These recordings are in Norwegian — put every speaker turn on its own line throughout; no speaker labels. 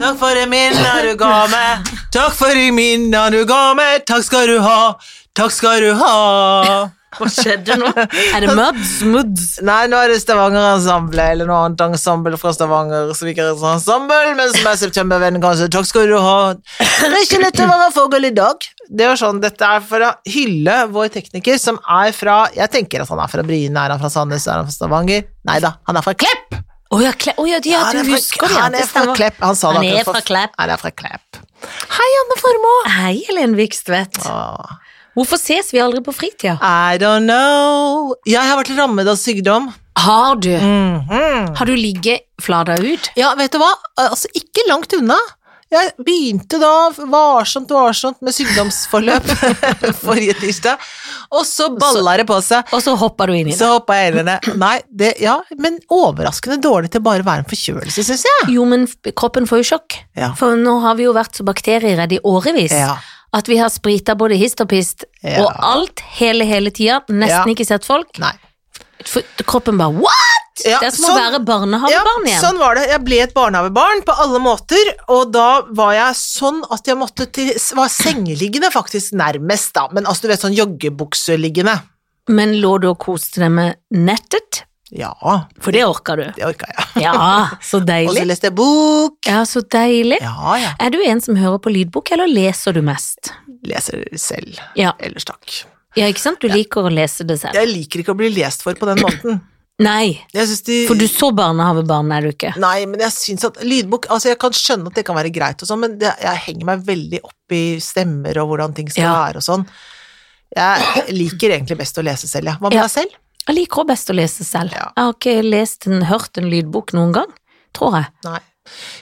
Takk for de minna du ga meg. Takk for de minna du ga meg. Takk skal du ha. Takk skal du ha.
Hva skjedde nå? Er det Muds? Muds?
Nei, nå er det Stavanger-ensemblet, eller noe annet ensemble fra Stavanger som ikke er et ensemble, men som er septembervennen, kanskje. Takk skal du ha. Det er ikke lett å være fugl i dag. Det var sånn, Dette er for å hylle vår tekniker, som er fra Jeg tenker at han er fra Bryne, er han fra Sandnes, er han fra Stavanger? Nei da, han er fra Klepp!
Å ja, Kle å, ja, de- ja,
Han
du
er fra-
husker det. ja,
Han
det
er fra
stemmer.
Klepp. Han sa det
Han er
akkurat
fra
for-
Klepp.
Han er fra Klepp.
Hei, Anne Formoe. Hei, Helen Vikstvedt.
Åh.
Hvorfor ses vi aldri på fritida?
I don't know. Jeg har vært rammet av sykdom.
Har du? Har du ligget flada ut?
Ja, vet du hva? Altså, ikke langt unna. Jeg begynte da varsomt, varsomt med sykdomsforløp forrige tirsdag, og så balla det på seg.
Og så hopper du inn i det.
Så hoppa jeg heller ned. Nei, det, ja, men overraskende dårlig til bare å være en forkjølelse, syns jeg.
Jo, men f- kroppen får jo sjokk.
Ja.
For nå har vi jo vært så bakterieredde i årevis.
Ja.
At vi har sprita både hist og pist
Ja.
og alt hele, hele tida.
Ja.
Nesten ikke sett folk.
Nei.
For kroppen bare what?!
Ja,
det er som å
sånn-
være barnehagebarn igjen.
Sånn var det. Jeg ble et barnehagebarn på alle måter, og da var jeg sånn at jeg måtte til Var sengeliggende, faktisk, nærmest, da. Men altså, du vet, sånn joggebukseliggende.
Men lå du og koste deg med nettet?
Ja,
For det orker du.
det orka jeg.
Ja, så
Og så
deilig.
leste jeg bok.
Ja, så deilig.
Ja, ja.
Er du en som hører på lydbok, eller leser du mest?
Leser selv.
Ja,
Ellers takk.
ja ikke sant? Du liker å lese det selv.
Jeg liker ikke å bli lest for på den måten.
Nei,
Jeg synes de...
for du så barnehagebarn, er du ikke?
Nei, men jeg syns at lydbok Altså, jeg kan skjønne at det kan være greit og sånn, men det, jeg henger meg veldig opp i stemmer og hvordan ting skal
Ja.
være og sånn. Jeg liker egentlig best å lese selv, jeg. Hva med
Ja.
deg selv?
Jeg liker også best å lese selv.
Ja.
Jeg har ikke lest en, hørt en lydbok noen gang, tror jeg.
Nei.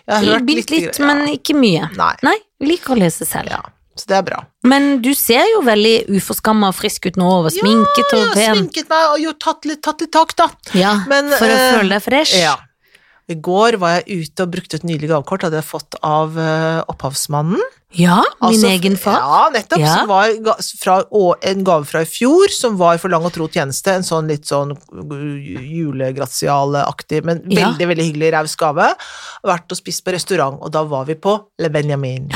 Jeg har hørt
Bitte litt,
grann,
men ikke mye.
ja. Nei.
Nei, jeg liker å lese selv.
Ja. Så det er bra.
Men du ser jo veldig uforskamma og frisk ut nå, og
Ja,
sminket
Jeg
og
har
pen.
sminket meg og gjort, tatt litt tatt i tak, da.
Ja,
Men,
for å
eh,
føle deg fresh.
Ja. I går var jeg ute og brukte et nylig gavekort, hadde jeg fått av eh, opphavsmannen.
Ja, min
Altså,
egen far.
Ja, nettopp.
Ja.
Som var ga- fra, å- en gave fra i fjor som var for lang og tro tjeneste. En sånn litt sånn julegratiale-aktig, men
Ja.
veldig veldig hyggelig, raus gave. Vært og spist på restaurant, og da var vi på Le Benjamin.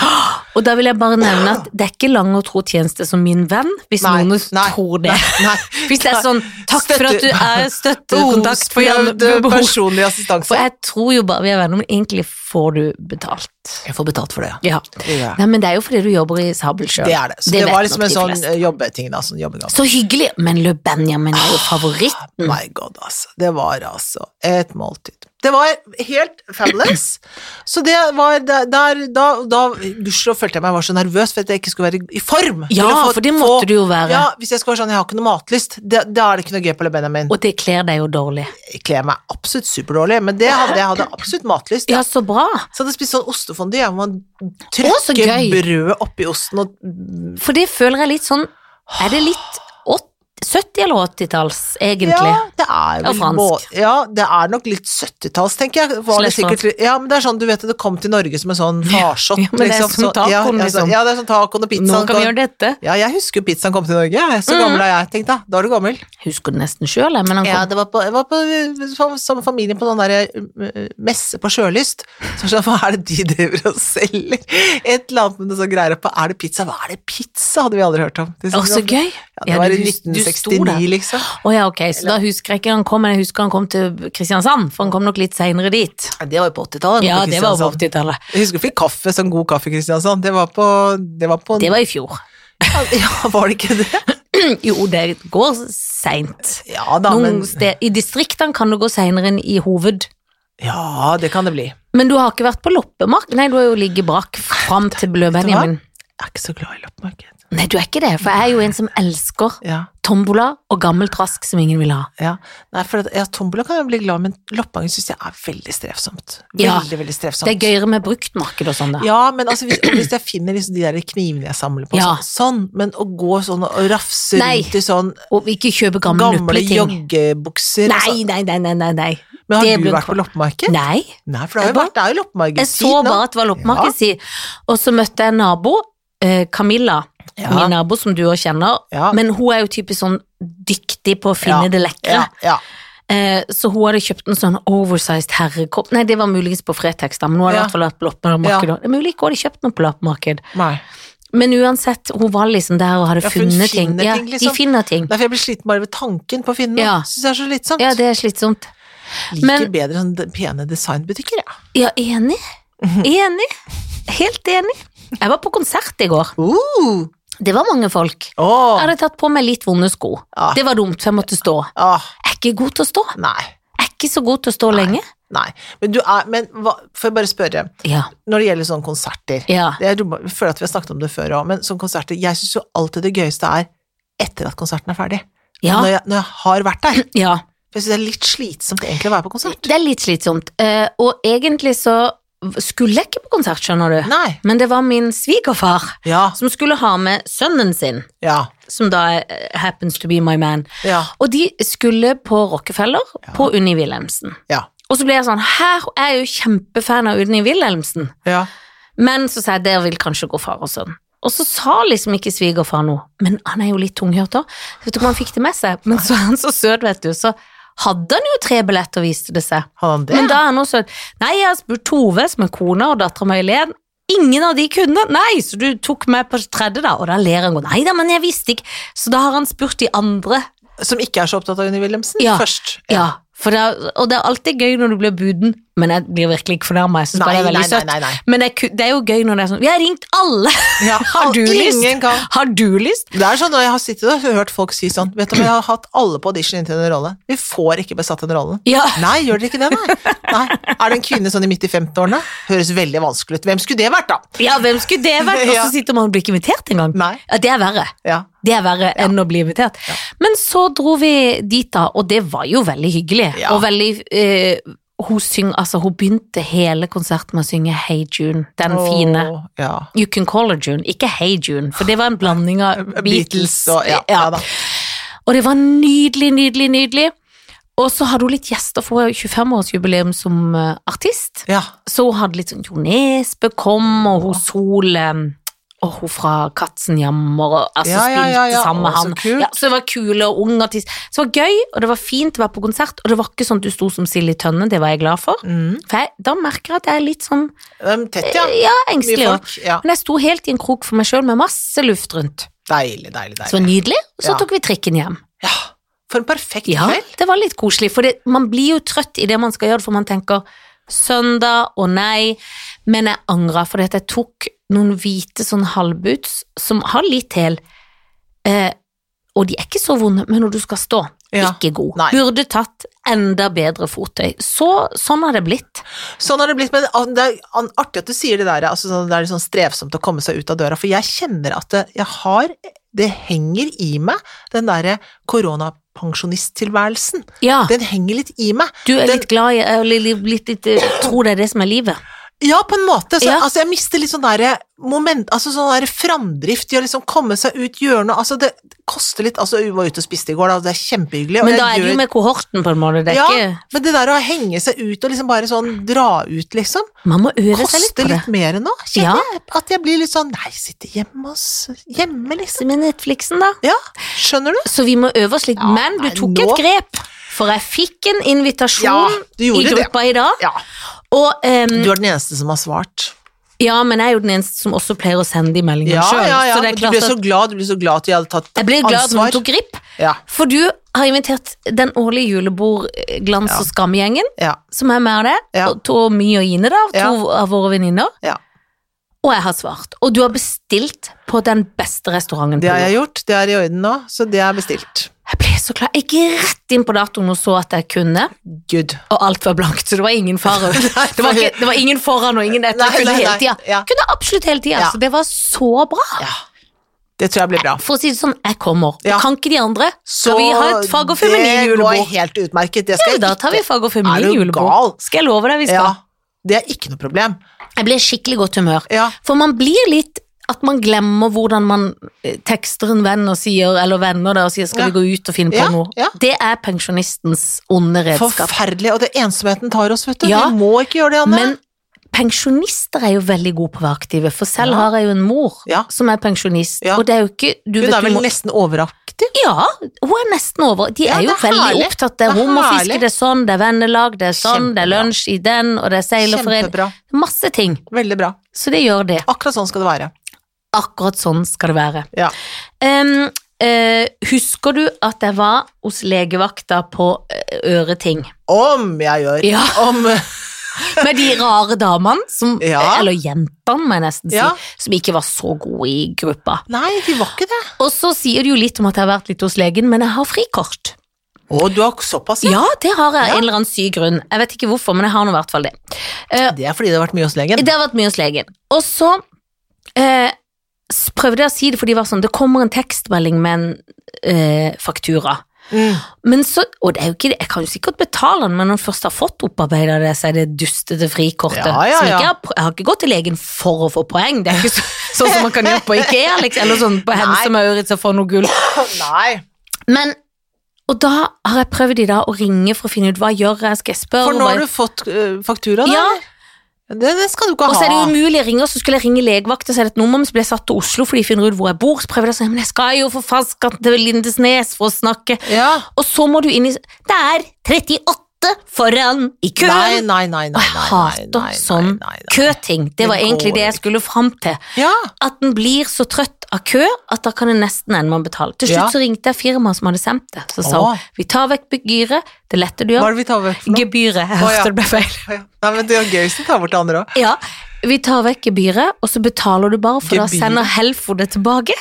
Og da vil jeg bare nevne at det er ikke lang og tro tjeneste som min venn, hvis
Nei,
noen
nei,
tror det.
Nei.
Hvis det er sånn, takk for at du er støttekontakt for Jan
Behovsprøvd
Behov.
personlig assistanse.
For jeg tror jo bare vi er venner, men egentlig får du betalt.
Jeg får betalt for det, ja.
Ja.
Ja.
Nei, men det er jo fordi du jobber i Sabel sjøl.
Det er det. Så det, var liksom en sånn eh, jobbeting, da. Sånn jobbegave.
Så hyggelig! Men Le Benjamin er jo favoritten.
My god, altså. Det var altså et måltid. Det var helt fabulous. Så det var der, der da, da Gudskjelov følte jeg meg var så nervøs for at jeg ikke skulle være i form.
Ja,
Ville
for det måtte du jo være.
Ja, Hvis jeg skulle være sånn, jeg har ikke noe matlyst, det- da er det ikke noe gøy på Le Benjamin.
Og det kler deg jo dårlig.
Jeg kler meg absolutt superdårlig, men det hadde jeg hadde absolutt matlyst.
Ja, så bra!
Så hadde jeg spist sånn ostefondue, hvor man
Å, så
trykker
gøy.
brødet oppi osten og
For det føler jeg litt sånn Er det litt åt- 70- eller 80-talls, egentlig?
Ja, det er
Og
vel
fransk.
må- Ja, det er nok litt 70-talls, tenker jeg. Var det
Slash
sikkert, ja, men det er sånn, du vet det kom til Norge som en sånn farsott.
Ja, men det er som
sånn- ja,
tacoen,
ja,
liksom.
sånn- Ja, det er sånn tacoen og pizzaen.
Nå kan vi
kom-
gjøre dette.
Ja, jeg husker pizzaen kom til Norge, jeg. så gammel er jeg, tenk da, da er du gammel.
Husker det nesten sjøl, men han kom
Ja, det var på, jeg var på sammen med familien på sånn der uh, messe på Sjølyst, så var jeg sånn, hva er det de driver og selger? Et eller annet med noe sånn greier på, er det pizza? Hva er det pizza? Hadde vi aldri hørt om. Det
Å, så gøy!
Ja, det var
du
i
hus- du
1969
sto der.
liksom.
Å ja, ok, så da husker jeg ikke han kom, men jeg husker han kom til Kristiansand, for han kom nok litt seinere dit.
Ja, Det var jo på 80-tallet.
Ja,
på
det var på
Kristiansand.
80-tallet.
Jeg husker jeg fikk kaffe, sånn god kaffe i Kristiansand. Det var på, det var på
Det var i fjor.
Ja, var det ikke det?
Mm, Jo, det går seint.
Ja da, men
Noen sted, I distriktene kan det gå seinere enn i hoved.
Ja, det kan det bli. Jeg
Men du har ikke vært på loppemark? Nei, du har jo ligget brakk fram til Blø Benjamin.
er ikke så glad i loppemarked.
Nei, du er ikke det, for jeg er jo en som elsker
Ja,
tombola og gammel trask som ingen vil ha.
ja. Nei, for at- ja, tombola kan jeg bli glad i, men loppemarked syns jeg er veldig strevsomt. Veldig,
Ja,
veldig strevsomt.
Det er gøyere med bruktmarked og sånn, da.
Ja, men altså, hvis, og hvis jeg finner liksom de der knivene jeg samler på,
Ja.
sånn, sånn, men å gå sånn og rafse
Nei.
rundt i sånn
Og ikke kjøpe gamle,
gamle
gamle ting.
joggebukser
Nei, nei, nei, nei, nei, nei.
altså. Men
det
har du
blir-
vært på loppemarked?
Nei.
Nei, for det har
Jeg
jo vært, det er jo
Jeg
loppemarked
så bare at det var
Ja.
loppemarked, si. Og så møtte jeg en nabo, eh, Camilla,
Ja.
min nabo som du også kjenner.
Ja.
Men hun er jo typisk sånn dyktig på å
Ja.
finne det lekre.
Ja, ja.
Eh, så hun hadde kjøpt en sånn oversized herrekopp. Nei, det var muligens på Fretex, da, men hun hadde i
Ja.
hvert fall vært på loppemarked.
Ja.
også. Det er mulig ikke hun hadde kjøpt noe på loppemarked.
Nei.
Men uansett, hun var liksom der og hadde
Ja, for hun
funnet ting.
finner
Ja,
ting, liksom.
De finner ting.
Derfor jeg blir sliten bare ved tanken på å finne noe.
Ja.
Synes det er så slitsomt.
Ja, det er slitsomt.
Liker
men-
bedre sånne de- pene designbutikker, jeg.
Ja, enig. Enig. Helt enig. Jeg var på konsert i går.
Uh.
Det var mange folk. Jeg
Åh.
hadde tatt på meg litt vonde sko.
Ah.
Det var dumt, for jeg måtte stå.
Åh.
Jeg er ikke god til å stå.
Nei.
Jeg er ikke så god til å stå lenge.
Nei. Men du er Men hva, får jeg bare spørre,
Ja,
når det gjelder sånne konserter
ja.
det er, dumme- Jeg føler at vi har snakket om det før òg, men sånne konserter Jeg syns jo alltid det gøyeste er etter at konserten er ferdig.
Ja,
Når, jeg, når jeg har vært der.
ja.
For jeg syns det er litt slitsomt egentlig å være på konsert.
Det er litt slitsomt. Eh, og egentlig så skulle jeg ikke på konsert, skjønner du.
Nei.
Men det var min svigerfar
Ja.
som skulle ha med sønnen sin,
Ja.
som da eh, happens to be my man.
Ja.
Og de skulle på Rockefeller, på Unni Wilhelmsen.
Ja.
Og så ble jeg sånn, her er jeg jo kjempefan av Unni Wilhelmsen.
ja.
Men så sa jeg, der vil kanskje gå far og sønn. Og så sa liksom ikke svigerfar noe, men han er jo litt tunghørt da. Vet du om han fikk det med seg? Men så er han så søt, vet du, så hadde han jo tre billetter, viste det seg.
Hadde han det?
Men da er han også søt. Nei, jeg har spurt Tove, som er kona, og dattera mi Helen. Ingen av de kunne. Nei, så du tok meg på tredje, da. Og da ler han godt. Nei da, men jeg visste ikke. Så da har han spurt de andre.
Som ikke er så opptatt av Unni Wilhelmsen
Ja.
først.
Ja, for det er, Og det er alltid gøy når du blir buden, men jeg blir virkelig ikke fornærma. Jeg syns
Nei,
bare det er
nei,
veldig
nei,
søtt.
nei, nei.
Men det er, ku- det er jo gøy når det er sånn Vi har ringt alle!
Ja,
Har du lyst?
Ingen kan.
Har du lyst?
Det er sånn når jeg har sittet og hørt folk si sånn Vet du om jeg har hatt alle på audition inntil den rollen? Vi får ikke besatt den rollen.
Ja.
Nei, gjør dere ikke det, nei? nei. Er det en kvinne sånn i midt i 50-årene? Høres veldig vanskelig ut. Hvem skulle det vært, da?
ja, hvem skulle det vært? Og
Ja.
så sitter man og blir ikke invitert engang.
Nei.
Ja, det er verre.
Ja.
Det er verre enn å bli invitert. Men så dro vi dit da, og det var jo veldig hyggelig.
Ja.
Og veldig eh, hun, syng, altså, hun begynte hele konserten med å synge Hey June, den
Åh,
fine.
Ja.
You Can Call Her June, ikke Hey June, for det var en blanding av Beatles.
Beatles og ja, ja.
Ja.
da.
Og det var nydelig, nydelig, nydelig. Og så hadde hun litt gjester, for hun har jo 25-årsjubileum som eh, artist.
Ja.
Så hun hadde litt sånn Jo Nesbø kom, og hun Sol eh, og hun fra Katzenjammer og altså,
Ja, ja, ja, ja.
spilte
Å,
sammen med
så
han.
kult.
Ja, så det var kule og ung artist. Så det var gøy, og det var fint å være på konsert, og det var ikke sånn at du sto som Silje Tønne, det var jeg glad for.
Mm.
For jeg, da merker jeg at jeg er litt sånn
Um, tett, ja.
Eh, ja, engstelig
Mye
også.
folk. Ja.
Men jeg sto helt i en krok for meg sjøl med masse luft rundt.
Deilig, deilig,
Så det
deilig.
var nydelig. og Så
Ja.
tok vi trikken hjem.
Ja. For en perfekt
Ja,
kveld.
det var litt koselig, for det, man blir jo trøtt i det man skal gjøre, for man tenker søndag og nei, men jeg angra for at jeg tok noen hvite sånn halvboots som har litt hæl, eh, og de er ikke så vonde, men når du skal stå,
Ja.
ikke god.
Nei.
Burde tatt enda bedre fottøy. Så, sånn har det blitt.
Sånn har det blitt, men an- det er an- artig at du sier det der, altså sånn, det er litt sånn strevsomt å komme seg ut av døra, for jeg kjenner at det, jeg har, det henger i meg, den derre koronapensjonisttilværelsen.
Ja,
Den henger litt i meg.
Ah. du er
den-
litt glad i eller litt, litt, litt, eh, tror det er det som er livet.
Ja, på en måte. Så,
Ja.
Altså, jeg mister litt sånn derre moment, altså sånn derre framdrift i å liksom komme seg ut, gjøre noe, altså det koster litt, altså vi var ute og spiste i går, da, og det er kjempehyggelig. og
Men
jeg
da er det
gjør-
jo med kohorten, på en måte. Det er
ja,
ikke
men det der å henge seg ut og liksom bare sånn dra ut, liksom.
Man må øve seg litt
koster
på det.
litt mer nå,
Ja.
kjenner jeg. At jeg blir litt sånn Nei, sitte hjemme oss Hjemme, liksom.
Med Netflixen, da.
Ja, skjønner du?
Så vi må øve oss litt,
Ja,
men du
nei,
tok
nå-
et grep. For jeg fikk en invitasjon
Ja, du
i
gjorde det.
gruppa i dag.
Ja.
Og ehm,
Du er den eneste som har svart.
ja, men jeg er jo den eneste som også pleier å sende de meldingene
Ja,
sjøl.
ja, ja.
Så det
Men
er
du ble
klart
så
at
glad, du ble så glad at jeg hadde tatt
jeg ble glad når
ansvar.
du tok grip.
Ja,
For du har invitert den årlige julebordglans-
Ja.
og skamgjengen,
ja,
som er med av det.
Ja.
Og to My og Ine, da. To av våre venninner.
ja.
Og jeg har svart. Og du har bestilt på den beste restauranten.
Det
på
har
jord.
jeg gjort. Det er i orden nå, så det er bestilt.
Jeg ble så glad. Jeg gikk rett inn på datoen og så at jeg kunne.
Good.
og alt var blankt, så det var ingen fare. Det var, ikke, det var ingen foran og ingen etter.
Nei,
Jeg kunne
nei,
hele
nei,
tida.
ja.
Kunne absolutt hele tida.
Ja.
Så det var så bra.
Ja. Det tror jeg blir bra.
For å si det sånn, jeg kommer. Og
Ja.
Kan ikke de andre, så, vi har et fag- og feminin
Det går
julebord.
helt utmerket. Det
Ja,
skal jeg
da tar vi
ikke-
fag- og
Er du
feminin julebord.
gal?
Skal jeg love deg vi
Ja.
skal.
Det er ikke noe problem.
Jeg ble i skikkelig godt humør.
Ja.
For man blir litt at man glemmer hvordan man eh, tekster en venn og sier, eller venner da, og sier 'skal
Ja.
vi gå ut og finne på
Ja,
noe'?
ja.
Det er pensjonistens onde redskap.
Forferdelig. Og det ensomheten tar oss, vet du.
Ja.
Vi må ikke gjøre det, Anne.
Men Pensjonister er jo veldig gode på å være aktive, for selv
Ja.
har jeg jo en mor
Ja.
som er pensjonist,
Ja.
og det er jo ikke du
Hun
vet,
er
du
vel
må-
nesten overaktiv.
Ja, hun er nesten over. De
Ja,
er jo
det er
veldig
herlig.
opptatt. Det
Det
er
er
homofiske,
herlig.
det er sånn, det er vennelag, det er sånn, det er
Kjempebra.
lunsj i den, og det er seilerforening.
Kjempebra.
Masse ting.
Veldig bra.
Så det gjør det.
Akkurat sånn skal det være.
Akkurat sånn skal det være.
Ja.
Em, eh, husker du at jeg var hos legevakta på eh, øreting?
Om jeg gjør.
Ja.
Om
Med de rare damene, som,
Ja.
eller jentene må jeg nesten si,
Ja.
som ikke var så gode i gruppa.
Nei, de var ikke det.
Og så sier det jo litt om at jeg har vært litt hos legen, men jeg har frikort.
Å, du har såpass,
Ja, det har jeg.
Ja.
En eller annen syk grunn. Jeg vet ikke hvorfor, men jeg har nå i hvert fall det. Eh,
Det er fordi det har vært mye hos legen.
det har vært mye hos legen. Og så eh, s- prøvde jeg å si det, for de var sånn, det kommer en tekstmelding med en eh, faktura.
Mm.
Men så, og det er jo ikke det, jeg kan jo sikkert betale den, men når jeg først har fått opparbeidet det, så er det dustete frikortet.
Ja, ja,
som ikke
ja.
har, pr- jeg har ikke gått til legen for å få poeng, det er ikke så, sånn som man kan gjøre på IKEA, liksom, eller sånn på Hemse Maurits og få noe gull.
Nei.
Men, og da har jeg prøvd i dag å ringe for å finne ut hva gjør jeg, skal jeg spørre
For nå
hva-
har du fått eh, faktura, da?
Ja,
eller? Det, det skal du ikke
og så
ha.
er det jo umulig å ringe, og så skulle jeg ringe legevakten, så er det et nummer, men så ble jeg satt til Oslo fordi de finner ut hvor jeg bor, så prøver jeg å si, men jeg skal jo for faen skal til Lindesnes for å snakke,
ja.
og så må du inn i, det er 38 foran i køen.
Nei, nei, nei, nei, nei,
Og jeg
nei, nei,
hater
nei,
sånn
nei, nei.
køting. Det
Det
var egentlig
går
det jeg skulle fram til.
Ja.
At en blir så trøtt av kø at da kan en nesten ende med å betale. Til slutt
Ja.
så ringte jeg firmaet som hadde sendt det. Så sa
Åh.
hun vi tar vekk gebyret, det lette du
Hva
gjør.
er det vi tar vekk for noe?
Gebyret. Jeg
Å, ja.
hørte det ble feil.
Ja. Nei, men det er gøy hvis du tar bort det andre òg.
Ja, vi tar vekk gebyret, og så betaler du bare, for da
Gebyret?
sender Helfo det tilbake.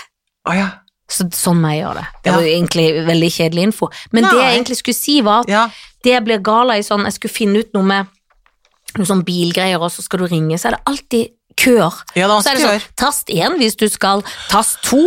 Å ja.
Så sånn må jeg gjøre det. Det
Ja.
var jo egentlig veldig kjedelig info. Men det jeg
Nei.
egentlig skulle si, var at
ja.
det jeg blir gal av i sånn Jeg skulle finne ut noe med noe sånn bilgreier, og så skal du ringe, så er det alltid køer.
Ja, det er
Så er
vanskelig
det
å
sånn,
gjøre.
tast 1 hvis du skal, tast 2,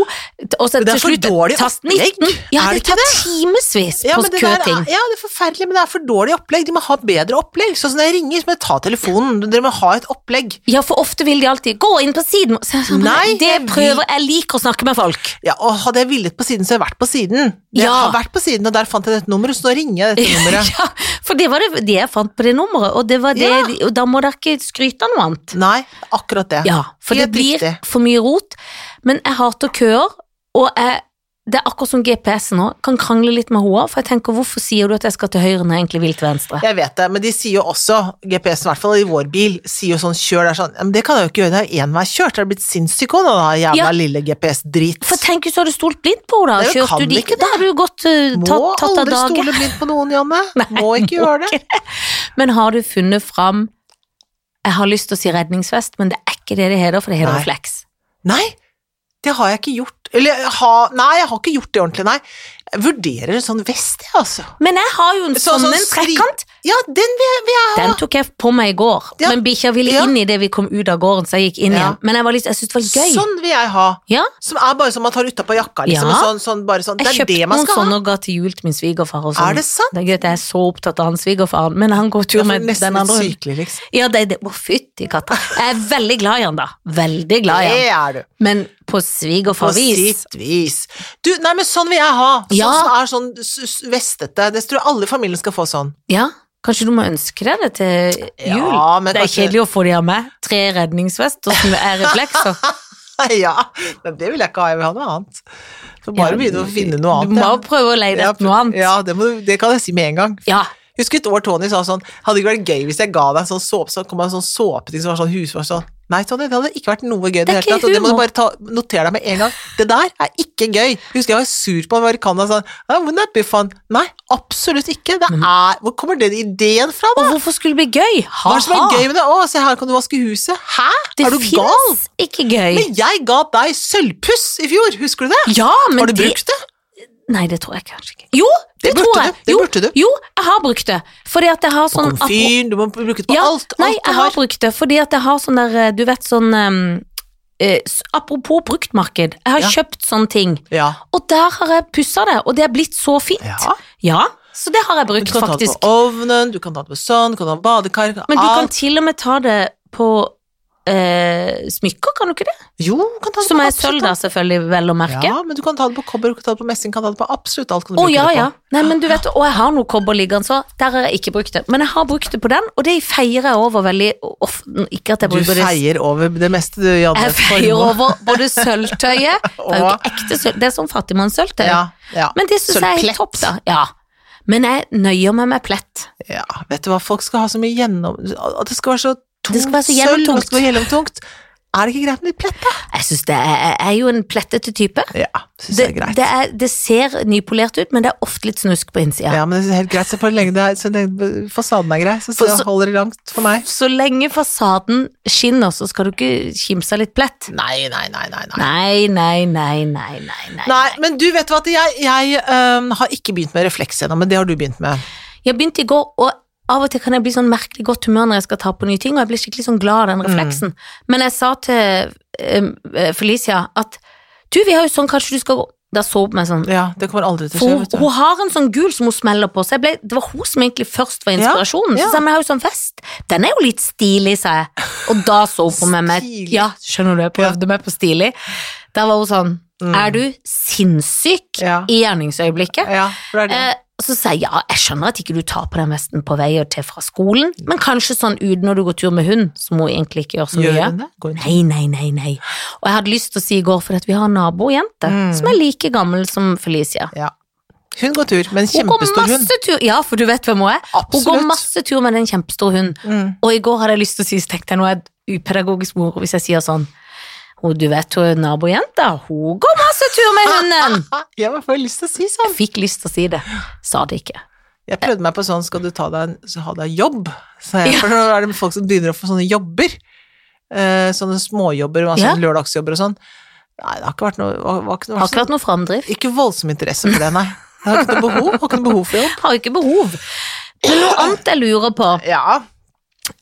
og så
Det er
til
for
slutt
dårlig
tast
opplegg.
19. Ja,
Er det
det
ikke
tar timevis
Ja,
på
men det der
køting.
er, ja, det er forferdelig, men det er for dårlig opplegg. De må ha bedre opplegg. Sånn som når jeg ringer, så må jeg ta telefonen. Dere må ha et opplegg.
Ja, for ofte vil de alltid gå inn på siden. Så jeg sa, men
Nei,
det
jeg
prøver jeg liker å snakke med folk.
Ja, og hadde jeg villet på siden, så hadde jeg vært på siden. Jeg
Ja.
har vært på siden, og der fant jeg dette nummeret, så nå ringer jeg dette nummeret.
Ja, for det var det, det jeg fant på det nummeret, og, det var det, og da må dere ikke skryte av noe annet.
Nei, akkurat det.
Ja, for det
Helt
blir
riktig.
for mye rot. Men jeg hater køer, og jeg, det er akkurat som GPS nå. Kan krangle litt med henne, for jeg tenker hvorfor sier du at jeg skal til høyre når jeg egentlig vil til venstre?
Jeg vet det, men de sier jo også, GPS-en i hvert fall i vår bil, sier jo sånn kjør der sånn, «Ja, men det kan jeg jo ikke gjøre, det er jo enveiskjørt, det er blitt sinnssyk også nå, da, jævla
Ja.
lille GPS-drit.
For tenk hvis du hadde stolt blindt på henne, da.
Nei, men
Kjørte
kan
du de
ikke det.
Da hadde du gått eh,
Må
tatt, tatt av
aldri
dage.
stole blindt på noen, Janne. må ikke gjøre det.
Men har du funnet fram Jeg har lyst til å si redningsvest, men det er ikke det det heter, for det heter
Nei.
refleks.
Nei, det har jeg ikke gjort. Eller, jeg har- nei, jeg har ikke gjort det ordentlig, nei. Jeg vurderer en sånn vest, jeg, altså.
Men jeg har jo en
Så-
sånn,
sånn
en
skri-
trekant.
Ja, den vil jeg, vil jeg ha.
Den tok jeg på meg i går,
Ja.
men bikkja ville
Ja.
inn i det vi kom ut av gården, så jeg gikk inn
Ja.
igjen. Men jeg, var litt, jeg syntes det var gøy.
Sånn vil jeg ha.
Ja,
Som er bare som man tar utapå jakka, liksom.
Ja.
og Sånn, sånn, bare sånn. Det
jeg
er
kjøpte
det man
noen
skal
sånne
ha.
og ga til jul til min svigerfar. Og sånn.
Er det sant?
Det er gøy at jeg er så opptatt av han svigerfaren, men han går
Ja,
tur
for
med
nesten
den
litt
andre. hunden.
sykelig, liksom.
Ja, det, det. Å, fytti katta. Jeg er veldig glad i han, da. Veldig glad i
Det
han.
er du.
Men på
På
svigerfar-vis.
sitt vis. Du, nei, men sånn vil jeg ha. Sånn
Ja.
som er sånn s- s- vestete. Det tror jeg alle i familien skal få sånn.
Ja, kanskje du må ønske deg det til jul?
Ja, men
det er
kanskje-
kjedelig å få de av meg. Tre redningsvester som er reflekser.
Ja, men det vil jeg ikke ha. Jeg vil ha noe annet. Så bare
Ja,
begynne å finne noe annet.
Du må
ja.
prøve å leie deg etter noe annet.
Ja, det, må, du- det kan jeg si med en gang.
Ja.
Husker et år Tony sa sånn Hadde det ikke vært gøy hvis jeg ga deg en sånn såpe, så kom det en sånn såpeting som var sånn husvask sånn Nei, Tony, det hadde ikke vært noe gøy i det
Det
hele
er
tatt,
ikke
og det må du
humor.
bare ta, notere deg med en gang. Det der er ikke gøy. Husker jeg var sur på Americana sånn «Ah, Wouldn't that be fun? Nei, absolutt ikke. Det
Mm.
er Hvor kommer den ideen fra, da?
Og hvorfor skulle det bli gøy? Ha-ha.
Hva er det som er gøy med det? Å, se her kan du vaske huset. Hæ?
Det
er du
finnes
gal?
ikke gøy.
Men jeg ga deg sølvpuss i fjor, husker du det?
ja, men
Har du
det-
brukt det?
Nei, det tror jeg kanskje ikke. Jo, det,
Det burde
tror jeg.
du, det
jo,
burde du.
jo, jeg har brukt det. Fordi at jeg har
På
sånn
komfyren, du må bruke det på
Ja,
alt.
Nei,
alt du
jeg har brukt det fordi at jeg har sånn der eh, Du vet sånn eh, eh, s- Apropos bruktmarked. Jeg har
Ja.
kjøpt sånne ting.
Ja.
Og der har jeg pussa det, og det er blitt så fint.
Ja.
Ja, så det har jeg
Du
brukt,
kan ta det
faktisk.
på ovnen, du kan ta det på sånn, du kan ta det på badekar, du kan
Men du kan
alt.
til og med ta det på eh, eh, smykker, kan du ikke det?
Jo, kan ta det
Som
på
er
absolutt
sølv, da, selvfølgelig, vel å
alt.
merke.
Ja, men du kan ta det på kobber, du kan ta det på messing, kan ta det på absolutt alt. Kan du
Å
bruke
ja,
det på.
ja. Nei, men du vet, og jeg har noe kobber liggende, så der har jeg ikke brukt det. Men jeg har brukt det på den, og det feirer jeg over veldig ofte. Ikke at jeg
Du
bruker det
feier over det meste, du, Janne.
Jeg feier over både sølvtøyet Det er jo ikke ekte sølv, det er sånn fattigmannssølvtøy.
Ja, ja.
Men det syns jeg er
Sølvplett.
helt topp, da. Ja. Men jeg nøyer meg med plett.
ja, vet du hva, folk skal ha så mye gjennom... At det skal være så tungt
Det skal være så
sølv, og
gjennomtungt.
det skal være gjennomtungt. Er det ikke greit med litt plett, da?
Jeg syns det er, jeg er jo en plettete type.
Ja, synes
Det,
jeg er greit.
det, er, det ser nypolert ut, men det er ofte litt snusk på innsida.
Ja, men det er helt greit. Så for lenge det er, så lenge fasaden er grei, så, så
For så-
holder det langt for meg.
Så lenge fasaden skinner, så skal du ikke kimse av litt plett.
Nei, nei, nei, nei. Nei,
Nei, nei, nei, nei, nei. nei.
men du vet du hva, at jeg, jeg øhm, har ikke begynt med refleks ennå, men det har du begynt med.
Jeg begynte i går, og av og til kan jeg bli sånn merkelig godt humør når jeg skal ta på nye ting, og jeg blir skikkelig sånn
Mm.
glad av den refleksen. Men jeg sa til eh, Felicia at du, vi har jo sånn, kanskje du skal gå Da så hun på meg sånn.
Ja, det kommer aldri til å
For
skje,
hun,
vet du.
hun har en sånn gul som hun smeller på, så jeg ble, det var hun som egentlig først var inspirasjonen.
ja.
Så sa jeg, men jeg har jo sånn vest, den er jo litt stilig, sa jeg. Og da så hun på meg med
Stilig.
Ja, skjønner du, jeg prøvde meg på stilig. Da var hun sånn, er du sinnssyk
Mm. Ja.
i gjerningsøyeblikket?
Ja, for det er det.
Eh, så sa jeg ja, jeg skjønner at ikke du tar på den vesten på vei til fra skolen, men kanskje sånn ut når du går tur med hund, som hun egentlig ikke gjør så
Gjør
mye.
hun det? Går hun-
Nei, nei, nei, nei. Og jeg hadde lyst til å si i går, for at vi har en nabojente
Mm.
som er like gammel som Felicia.
Ja. Hun går tur, men
Hun går
kjempestor hund.
masse tur Ja, for du vet hvem hun er. Hun går masse tur med den kjempestore hunden.
Mm.
Og i går hadde jeg lyst til å si, så tenkte jeg nå er jeg upedagogisk mor hvis jeg sier sånn «Å, Du vet hun er nabojenta, hun går masse tur med hunden!
Ah, Jeg var for lyst til å si sånn.
Jeg fikk lyst til å si det, sa det ikke.
Jeg prøvde meg på sånn, skal du ta deg en, så ha deg jobb? Sa jeg, for nå er det folk som begynner å få sånne jobber. Eh, sånne småjobber, altså
Ja.
lørdagsjobber og sånn. Nei, det har ikke vært noe, var, var ikke noe
Har ikke hatt noe framdrift.
Ikke voldsom interesse for det, nei. Jeg har ikke noe behov, har ikke noe behov for jobb.
har ikke behov. Men noe annet jeg lurer på
Ja.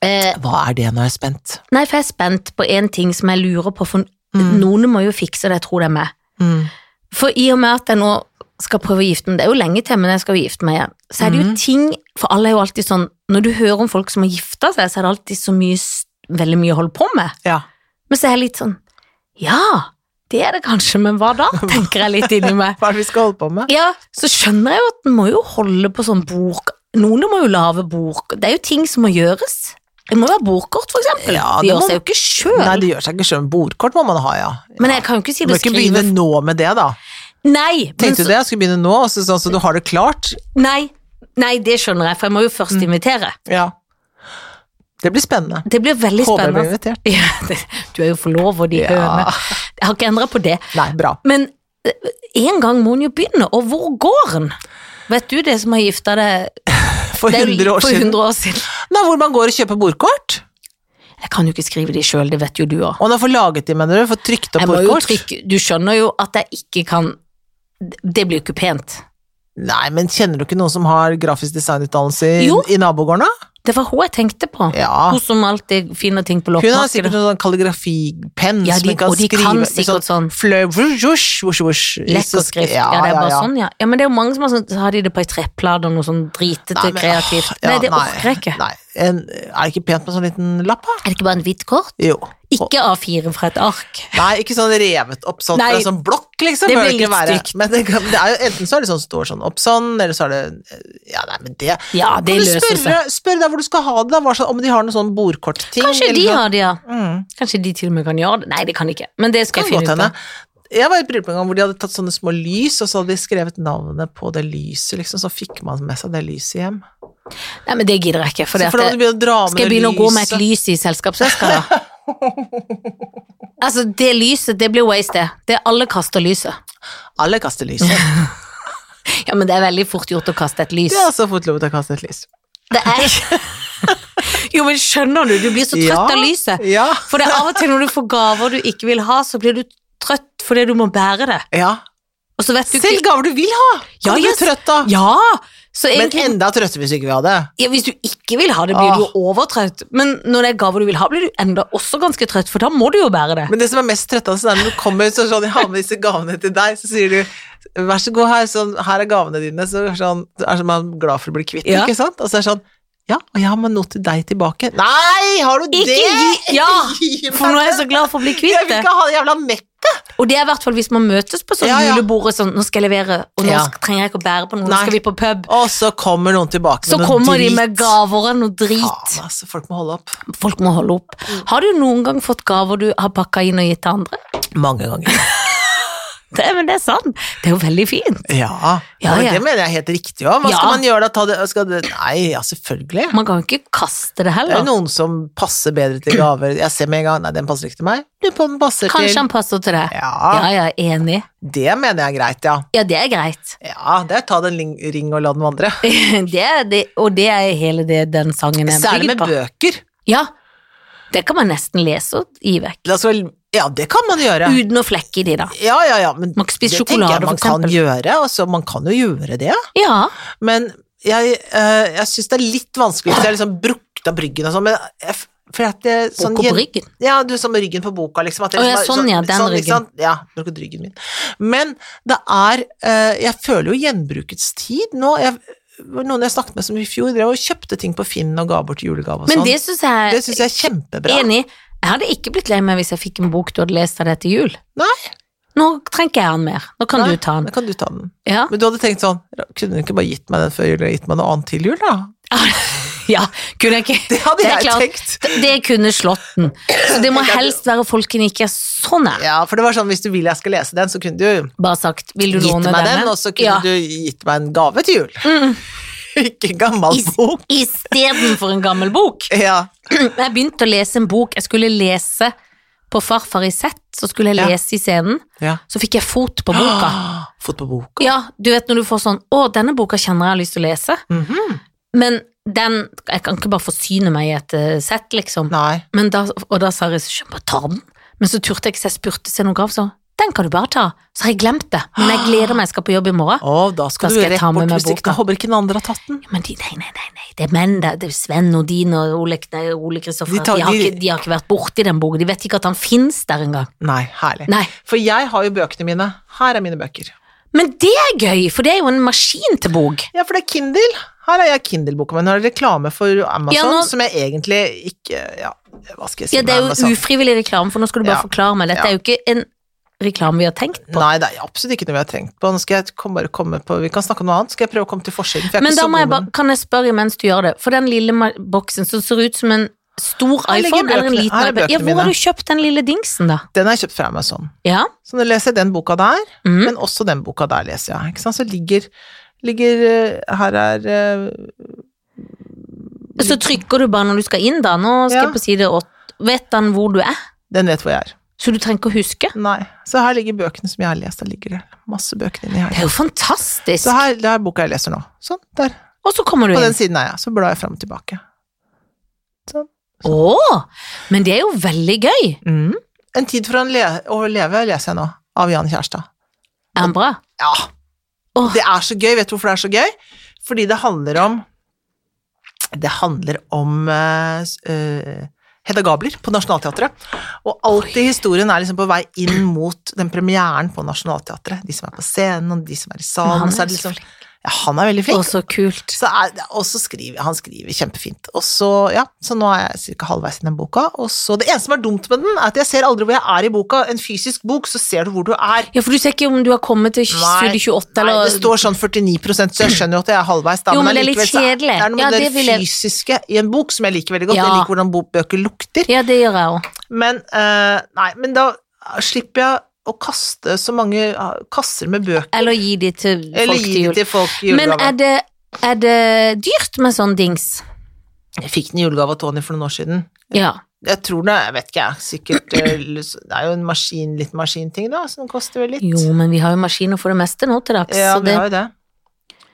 eh,
Hva er det nå er jeg spent?
Nei, for jeg er spent på en ting som jeg lurer på, for
Mm.
noen må jo fikse det, jeg tror det er meg.
Mm.
For i og med at jeg nå skal prøve å gifte meg, det er jo lenge til, men jeg skal jo gifte meg igjen, så er det jo
Mhm.
ting For alle er jo alltid sånn Når du hører om folk som har gifta seg, så er det alltid så mye s- Veldig mye å holde på med.
Ja.
Men så er jeg litt sånn Ja, det er det kanskje, men hva da? Tenker jeg litt inni meg.
Hva er det vi skal holde på med?
Ja, så skjønner jeg jo at en må jo holde på sånn bok. Noen må jo lage bok. Det er jo ting som må gjøres. Det må være bokkort, for eksempel.
Ja,
det
det
gjør
må-
seg jo ikke
Nei,
sjøl.
det gjør seg ikke sjøl. Bordkort må man ha, ja.
Men jeg kan jo ikke si
Du må
det
ikke begynne
skrive
nå med det, da.
Nei, men
Tenkte
så,
du det? Jeg skulle begynne nå, og så, sånn, så du Mm. har det klart.
nei, nei, det skjønner jeg, for jeg må jo først invitere.
Ja. Det blir spennende.
Det blir veldig
Håper jeg blir
spennende.
invitert.
Ja, det, du er jo forlover, de
Ja.
høne. Jeg har ikke endra på det.
Nei, bra.
Men eh, en gang må en jo begynne, og hvor går en? Vet du det som har gifta deg
For
det er
100
jo
år
for
siden.
100 år siden?
Nei, hvor man går og kjøper bordkort.
Jeg kan jo ikke skrive de sjøl, det vet jo du òg.
Og man får laget de, mener du? Får trykt opp
Jeg må jo
bordkort?
trykke, du skjønner jo at jeg ikke kan Det blir jo ikke pent.
Nei, men kjenner du ikke noen som har grafisk designutdannelse i,
Jo.
i nabogården, da?
Det var hun jeg tenkte på.
Ja.
Hun som alltid finner ting på
Hun har sikkert
loppemarkedet.
noen sånn kalligrafipenn
Ja,
som
de,
hun kan
og de
skrive
kan
med
sikkert sånn
sånn fløy, vush, vush, vush, vush, i så-
lekkerskrift. Ja, det er bare sånn, ja. ja. Men det er jo mange som har sånn, så har de det på ei treplate og noe sånn dritete
Nei, men,
kreativt.
åh, ja,
nei, det
nei,
orker jeg ikke.
Nei. En, er det ikke pent med sånn liten lapp, da?
Er det ikke bare en hvitt kort?
Jo.
Ikke A4 fra et ark.
Nei, ikke sånn revet opp sånn,
Nei.
for en sånn blokk, liksom.
Det
bør
blir
ikke
litt
være.
stygt.
Men det, kan, det er jo, enten så er det sånn, står sånn opp sånn, eller så er det Ja, nei, men det
Ja,
Kan
det
du
løser
spørre,
seg.
spørre deg hvor du skal ha det, da? Hva slags- om de har noen sånn bordkortting?
Kanskje
eller
de
noe.
har det, ja.
Mm,
Kanskje de til og med kan gjøre det. Nei, det kan de ikke. Men det skal
kan
jeg
godt
finne ut
hende.
av.
Jeg var i et bryllup en gang hvor de hadde tatt sånne små lys, og så hadde de skrevet navnet på det lyset, liksom. Så fikk man med seg det lyset hjem.
Nei, men det gidder jeg ikke.
Så
For det
for da
at
må du begynne å dra med
Skal jeg
det
begynne å gå med
lyset.
et lys i selskapsveska, da? altså, det lyset, det blir waste, det. Det er alle kaster lyset.
Alle kaster lyset.
Ja, men det er veldig fort gjort å kaste et lys.
Jeg har også fått lov til å kaste et lys.
Det er Jo, men skjønner du, du blir så trøtt
Ja.
av lyset.
Ja.
For det er av og til når du får gaver du ikke vil ha, så blir du trøtt fordi du må bære det.
ja.
Og så vet du
Selv
ikke
gaver du vil ha!
Ja,
Kan du bli
jeg-
trøtt av?
Ja! Så
Men
egentlig,
enda trøttere hvis ikke vi hadde.
ja, hvis du ikke vil ha det, blir
Ah.
du jo overtrøtt. Men når det er gaver du vil ha, blir du enda også ganske trøtt, for da må du jo bære det.
Men det som er mest trøttende, så er når du kommer så sånn, jeg har med disse gavene til deg, så sier du vær så god, her, sånn, her er gavene dine, så er det sånn, så er det sånn man er glad for å bli kvitt,
Ja.
ikke sant? Og så er det sånn, Ja, og jeg har med noe til deg tilbake. Nei, har du
Ikke
det?
gi Ja!
Gi meg
For nå er jeg så
det.
glad for å bli
Jeg
kvitt
vil
det.
ikke ha det jævla mekka.
Og det er i hvert fall hvis man møtes på sånn
Ja, ja.
julebordet sånn, nå skal jeg levere, og nå
Ja.
sk- trenger jeg ikke å bære på noe, nå
Nei.
skal vi på pub.
Og så kommer noen tilbake
Så
med noe
kommer de
drit.
med gaver og noe drit.
Faen, Mm. altså, folk må holde opp.
Folk må holde opp. Har du noen gang fått gaver du har pakka inn og gitt til andre?
Mange ganger.
Det, men det er sant. Det er jo veldig fint.
Ja,
Ja,
men
ja.
det mener jeg er helt riktig òg. Hva
Ja.
skal man gjøre da? Ta det, skal det? Nei, ja, selvfølgelig.
Man kan jo ikke kaste
Det
det
er
heller.
noen som passer bedre til gaver. Jeg ser med en gang Nei, den passer ikke til meg. Du på den passer
Kanskje
til
han passer til det.
ja,
Ja, ja, enig.
det mener jeg er greit, ja.
Ja, det er greit.
Ja, det er ta den ling- ring og la den vandre.
Det er det, og det er hele det den sangen er
Særlig
bygd
med
på.
bøker.
Ja, det kan man nesten lese og gi vekk.
La oss vel- Ja, det kan man gjøre.
Uten å flekke i de, da.
Ja, ja, ja, men
Man kan spise
det tenker
sjokolade,
jeg
for
man kan
eksempel.
gjøre. Altså, man kan jo gjøre det,
Ja.
men jeg, eh, jeg syns det er litt vanskelig hvis jeg liksom brukte av bryggen og sånn, men jeg, f- for at det, sånn,
Bok og bryggen.
Ja, du som med ryggen på boka, liksom. At jeg
Å, ja,
liksom har-
sånn, ja, den
ikke
ryggen.
sant? Ja, brukket ryggen min. Men det er eh, Jeg føler jo gjenbrukets tid nå. Jeg, det var noen jeg snakket med som i fjor drev og kjøpte ting på Finn og ga bort i julegave og
Men
sånn.
det syns jeg
Det syns jeg er kjempebra.
Enig. Jeg hadde ikke blitt lei meg hvis jeg fikk en bok du hadde lest av deg til jul.
Nei.
Nå trenger ikke jeg den mer. Nå kan
Nei,
du ta den.
Da kan du ta den.
Ja.
Men du hadde tenkt sånn Kunne du ikke bare gitt meg den før jul, og gitt meg noe annet til jul, da?
ja, kunne jeg ikke.
Det hadde
Det er
jeg
klart.
tenkt.
Det, det kunne slått den. Så det må helst være folken ikke er så nær.
Ja, for det var sånn hvis du vil jeg skal lese den, så kunne du
Bare sagt, vil du
gitt
låne
meg den,
denne?
og så kunne
Ja. Mm.
du gitt meg en gave til jul. ikke en gammel
I s-
bok.
Istedenfor en gammel bok.
Ja.
Jeg begynte å lese en bok. Jeg skulle lese på Farfar i sett, så skulle jeg
Ja.
lese i scenen.
ja.
Så fikk jeg fot på boka.
Fått på boka.
Ja, du vet når du får sånn 'Å, denne boka kjenner jeg har lyst til å lese',
Mhm.
men den Jeg kan ikke bare forsyne meg i et eh, sett, liksom.
Nei.
Men da, og da sa regissøren bare ta den. Men så turte jeg ikke, så jeg spurte scenograf, så den kan du bare ta. Så har jeg glemt det. Men jeg gleder meg, jeg skal på jobb i morgen.
Å, da skal,
Da
du
skal jeg
rett
ta
bort
med meg
hvis ikke
boka.
da håper ikke den andre har tatt den.
Men de, nei, nei, nei, nei, det er menn, det er- det er Sven og Din og Ole, nei, Ole Kristoffer.
De
De,
tar-
har
de-
ikke- de har ikke vært borti den boken, de vet ikke at han finnes der engang.
Nei, herlig.
Nei.
For jeg har jo bøkene mine. Her er mine bøker.
Men det er gøy, for det er jo en maskin til bok.
Ja, for det er Kindle. Her er jeg Kindle-boka min. Her er reklame for Amazon,
Ja, nå-
som jeg egentlig ikke Ja, hva skal jeg si
Ja, det er
med
jo
Amazon?
ufrivillig reklame, for nå skal du bare
Ja.
forklare meg. Dette
Ja.
er jo ikke en reklame vi har tenkt på.
Nei, det er absolutt ikke noe vi har tenkt på. Nå skal jeg kom- bare komme på Vi kan snakke om noe annet. Skal jeg prøve å komme til forsiden? For jeg er
Men
ikke
da
så
må
god
jeg
med
bare, kan jeg spørre mens du gjør det, for den lille ma- boksen som ser ut som en stor
Her ligger
iPhone eller en
bøkene-
liten
her er
iPad, ja,
bøkene
hvor har
mine.
du kjøpt den lille dingsen da?
den. Den har jeg kjøpt fra Amazon.
Ja,
Så nå leser jeg den boka der,
Mhm.
men også den boka der leser jeg. Ikke sant? Så ligger, ligger eh, Her er eh,
så trykker du bare når du skal inn da, nå skal
Ja.
jeg på side 8, vet han hvor du er,
Den vet hvor jeg er.
så du trenger ikke å huske.
Nei. Så her ligger bøkene som jeg har lest. Der ligger det masse bøker inni
Det
her.
er jo fantastisk.
Så her det er boka jeg leser nå. Sånn, der.
Og så kommer du
På
inn.
den siden er jeg. Så blar jeg fram og tilbake.
Åh, men det er jo veldig gøy.
Mm. En tid for å le å leve leser jeg nå, av Jan Kjærstad.
Er han bra?
Ja,
Åh.
det er så gøy. Vet du hvorfor det er så gøy? Fordi det handler om Det handler om eh, s- eh, Hedda Gabler på Nationaltheatret. Og alltid historien er liksom på vei inn mot den premieren på Nationaltheatret. De som er på scenen, og de som er i
Men
salen.
han
så
er
er det
så
liksom, ja, han er veldig flink.
Åh, så kult.
Så er, det- og så skriver han skriver kjempefint. Og så, ja, så nå er jeg cirka halvveis i den boka. Og så, det eneste som er dumt med den, er at jeg ser aldri hvor jeg er i boka. En fysisk bok, så ser du hvor du er.
Ja, for du ser ikke om du har kommet til
Nei,
studie 28 eller
Nei, det står sånn 49 så jeg skjønner jo at jeg er halvveis. Da,
Jo, men det er litt
allikevel så er-
kjedelig.
Det er noe med
Ja,
det,
det vil jeg-
fysiske i en bok som jeg liker veldig godt. Jeg
Ja.
liker hvordan bo- bøker lukter.
Ja, det gjør jeg òg.
Men, eh, nei, men da slipper jeg å kaste så mange ah, kasser med bøker.
Eller gi de til
Eller
folk til
gi det
jul.
til folk i
Men
julegave.
er det, er det dyrt med sånn dings?
Jeg fikk den i julegave av Tony for noen år siden.
Ja.
Jeg tror det, jeg vet ikke, jeg. Sikkert eh, Det er jo en maskin, litt maskinting, da, som koster vel litt.
Jo, men vi har jo maskiner for det meste nå til dags.
ja,
så
vi
det,
har jo det.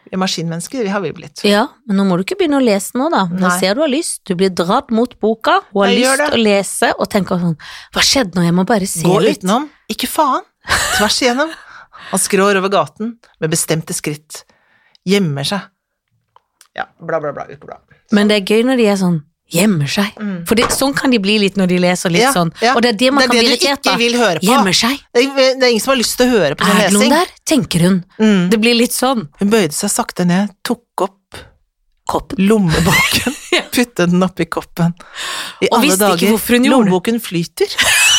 Vi er maskinmennesker, vi har vi blitt.
ja, men nå må du ikke begynne å lese nå, da. Nå
Nei.
ser du har lyst. Du blir dratt mot boka, hun har
Jeg gjør
lyst
det.
til å lese, og tenker sånn Hva skjedde nå? Jeg må bare se
Gå
litt.
utenom. Ikke faen. Tvers igjennom. Han skrår over gaten med bestemte skritt. Gjemmer seg. Ja, bla, bla, bla. Ukeblad.
Men det er gøy når de er sånn Gjemmer seg.
Mm.
For det, sånn kan de bli litt når de leser litt
Ja,
sånn.
ja.
Og det er det man
Det er
kan
det
bli
du
irritert
ikke
av.
vil høre på.
Gjemmer seg.
Det er, det er ingen som har lyst til å høre på sånn
Er det noen
lesing.
der? Tenker hun.
Mm.
Det blir litt sånn.
Hun bøyde seg sakte ned, tok opp
kopp.
Lommeboken. Putte den oppi koppen. I
Og visste ikke hvorfor hun gjorde det.
Lommeboken flyter.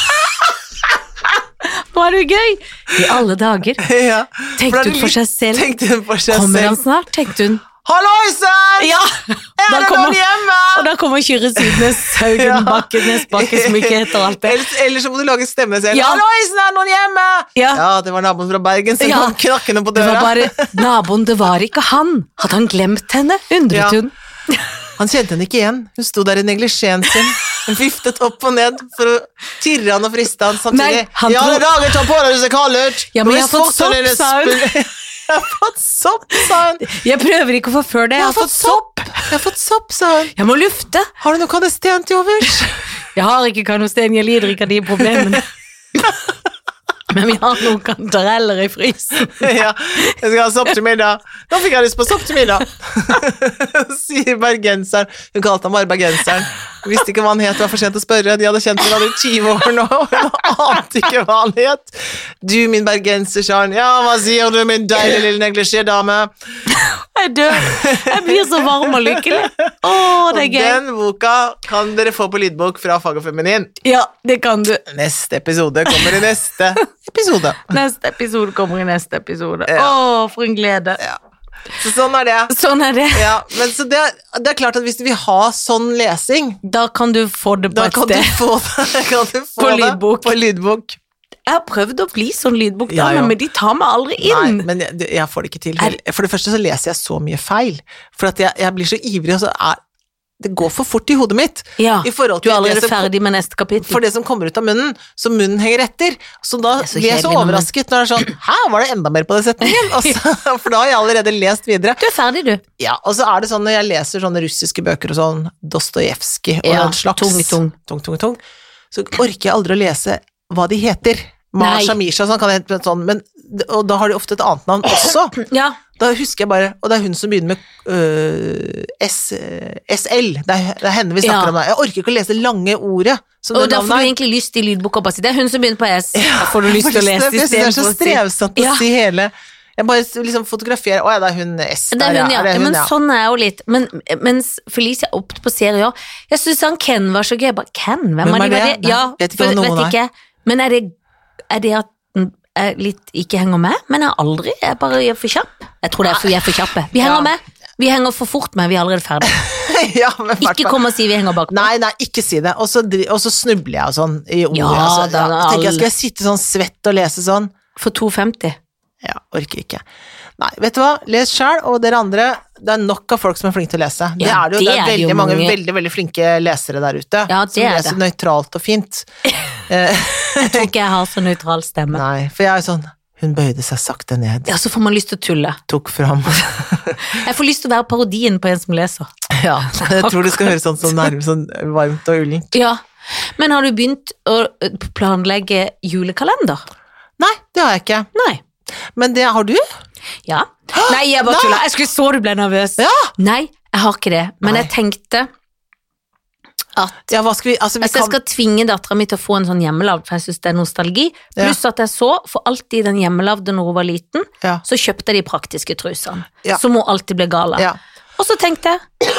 Nå er det jo gøy! I alle dager.
ja.
Tenkte hun for seg selv.
Tenkte hun for seg
Kommer han
selv.
snart, tenkte hun.
Halloisen!
Ja!
Er
Da
det
kommer,
noen hjemme?
og da kommer Kyrre Sydnes,
Ja.
Haugen Bakke, Nesbakke, som ikke heter alt det.
Ellers, ellers så må du lage stemme selv.
Ja.
Halloisen, er det noen hjemme?
Ja.
det var naboen fra Bergen som
Ja.
kom knakkende på
Det var
døra.
bare naboen, det var ikke han. Hadde han glemt henne, undret
Ja.
hun.
Han kjente henne ikke igjen. Hun sto der i neglisjeen sin. Hun viftet opp og ned for å tirre han og friste han samtidig.
Nei, han
I alle
tror-
dager, ta på deg disse kalert!
Ja, men jeg har fått sopp, sa hun.
Jeg har fått sopp, sa hun.
Jeg prøver ikke å forføre det, jeg har fått sopp.
Jeg har fått sopp, sa hun.
Jeg må lufte.
Har du noe kanesten til overs?
Jeg har ikke kanosten, jeg lider ikke av de problemene. Men vi har noen kantareller i frysen.
ja, jeg skal ha sopp til middag. Nå fikk jeg lyst på sopp til middag. Sier bergenseren. Hun kalte ham bare bergenseren. Hun Visste ikke hva han het, det var for sent å spørre. De hadde kjent hverandre i 20 år nå, og hun ante ikke hva han het. Du, min bergenser, sa han. Ja, hva sier du, min deilige lille neglisjé-dame?
Jeg dør. Jeg blir så varm og lykkelig. Å, det er
Og
gøy.
den boka kan dere få på lydbok fra Fag og Feminin.
Ja, det kan du.
Neste episode kommer i neste episode.
Neste episode kommer i neste episode.
Ja.
Å, for en glede.
Så sånn er det.
Sånn er det.
Ja, men så det, er- det er klart at hvis du vil ha sånn lesing,
Da kan du få det på
Da
et
kan du
sted.
få det, kan du få
På
det
lydbok.
på lydbok.
Jeg har prøvd å bli sånn lydbokdame,
Ja, ja.
men de tar meg aldri inn.
Nei, men jeg, det- jeg får det ikke til.
Er-
For det første så leser jeg så mye feil. For at jeg, jeg blir så ivrig, og så er Det går for fort i hodet mitt.
ja,
I forhold
du
til
er
det
allerede
som,
ferdig med neste kapittel.
for det som kommer ut av munnen, så munnen henger etter. Så da
Det er så
blir jeg så
kjedelig når man-
overrasket når det er sånn Hæ, var det enda mer på den setningen? Og så- for da har jeg allerede lest videre.
Du er ferdig, du.
Ja, og så er det sånn når jeg leser sånne russiske bøker og sånn, Dostojevskij og
Ja,
den slags
tung, tung.
tung, tung, tung, så orker jeg aldri å lese hva de heter. Marsha
Nei.
Misha, sånn kan jeg hete sånn, men, og da har de ofte et annet navn også.
Ja,
Da husker jeg bare, og det er hun som begynner med øh, S, øh, SL, det er, det er henne vi
Ja.
snakker om her. Jeg orker ikke å lese lange ordet som
og
det
da får du
navnet er.
egentlig lyst til lydbok. og bare si, Det er hun som begynner på S. Da får du lyst til å lese
Jeg synes det er så
istedenfor å si-
strevsomt å
Ja.
si hele, jeg bare liksom fotograferer, å ja, det er hun S
Det er hun, ja.
det er hun,
men
ja.
sånn er jeg jo litt. Men, mens Felicia er opptatt på serier Jeg syns han Ken var så gøy. Jeg bare, Ken? Hvem,
Hvem
er,
er
det?
det? Nei,
Ja,
vet ikke
for-
hvem noen
vet ikke. Men er det, er det at den er litt ikke henger med? Men jeg aldri Jeg bare jeg er for kjapp. Jeg tror det er for vi er for kjappe. Vi
Ja.
henger med. Vi henger for fort med. Vi er allerede ferdige.
ja, men hvert
Ikke
fall.
kom og si vi henger bakpå.
Nei, nei, ikke si det. Og så, dri- og så snubler jeg og sånn i ordet.
Ja,
altså.
da,
ja, jeg tenker jeg
all-
skal jeg sitte sånn svett og lese sånn.
For 2,50.
Ja, orker ikke. Nei, vet du hva, les sjæl, og dere andre, det er nok av folk som er flinke til å lese. det
Ja,
er det jo,
det
det er,
er det jo
veldig mange,
mange.
veldig, veldig flinke lesere der ute.
Ja, det
som
er
leser
det.
nøytralt og fint.
Jeg tror ikke jeg har så nøytral stemme.
Nei, for jeg er jo sånn Hun bøyde seg sakte ned,
Ja, så får man lyst til å tulle.
tok fram
Jeg får lyst til å være parodien på en som leser.
Ja, jeg tror det skal høres sånn, sånn nærmest sånn varmt og ullent.
Ja. Men har du begynt å ø, planlegge julekalender?
Nei, det har jeg ikke.
Nei.
Men det har du?
Ja. Nei, jeg bare tuller. Jeg skulle så du ble nervøs.
Ja!
Nei, jeg har ikke det. Men
Nei.
jeg tenkte at
ja hva skal vi Altså, vi
Altså, jeg skal tvinge dattera mi til å få en sånn hjemmelagd, for jeg syns det er nostalgi. Pluss at jeg så, for alltid den hjemmelagde når hun var liten,
kan Ja.
så kjøpte jeg de praktiske trusene.
Ja.
Som hun alltid ble gal av.
ja.
Og så tenkte jeg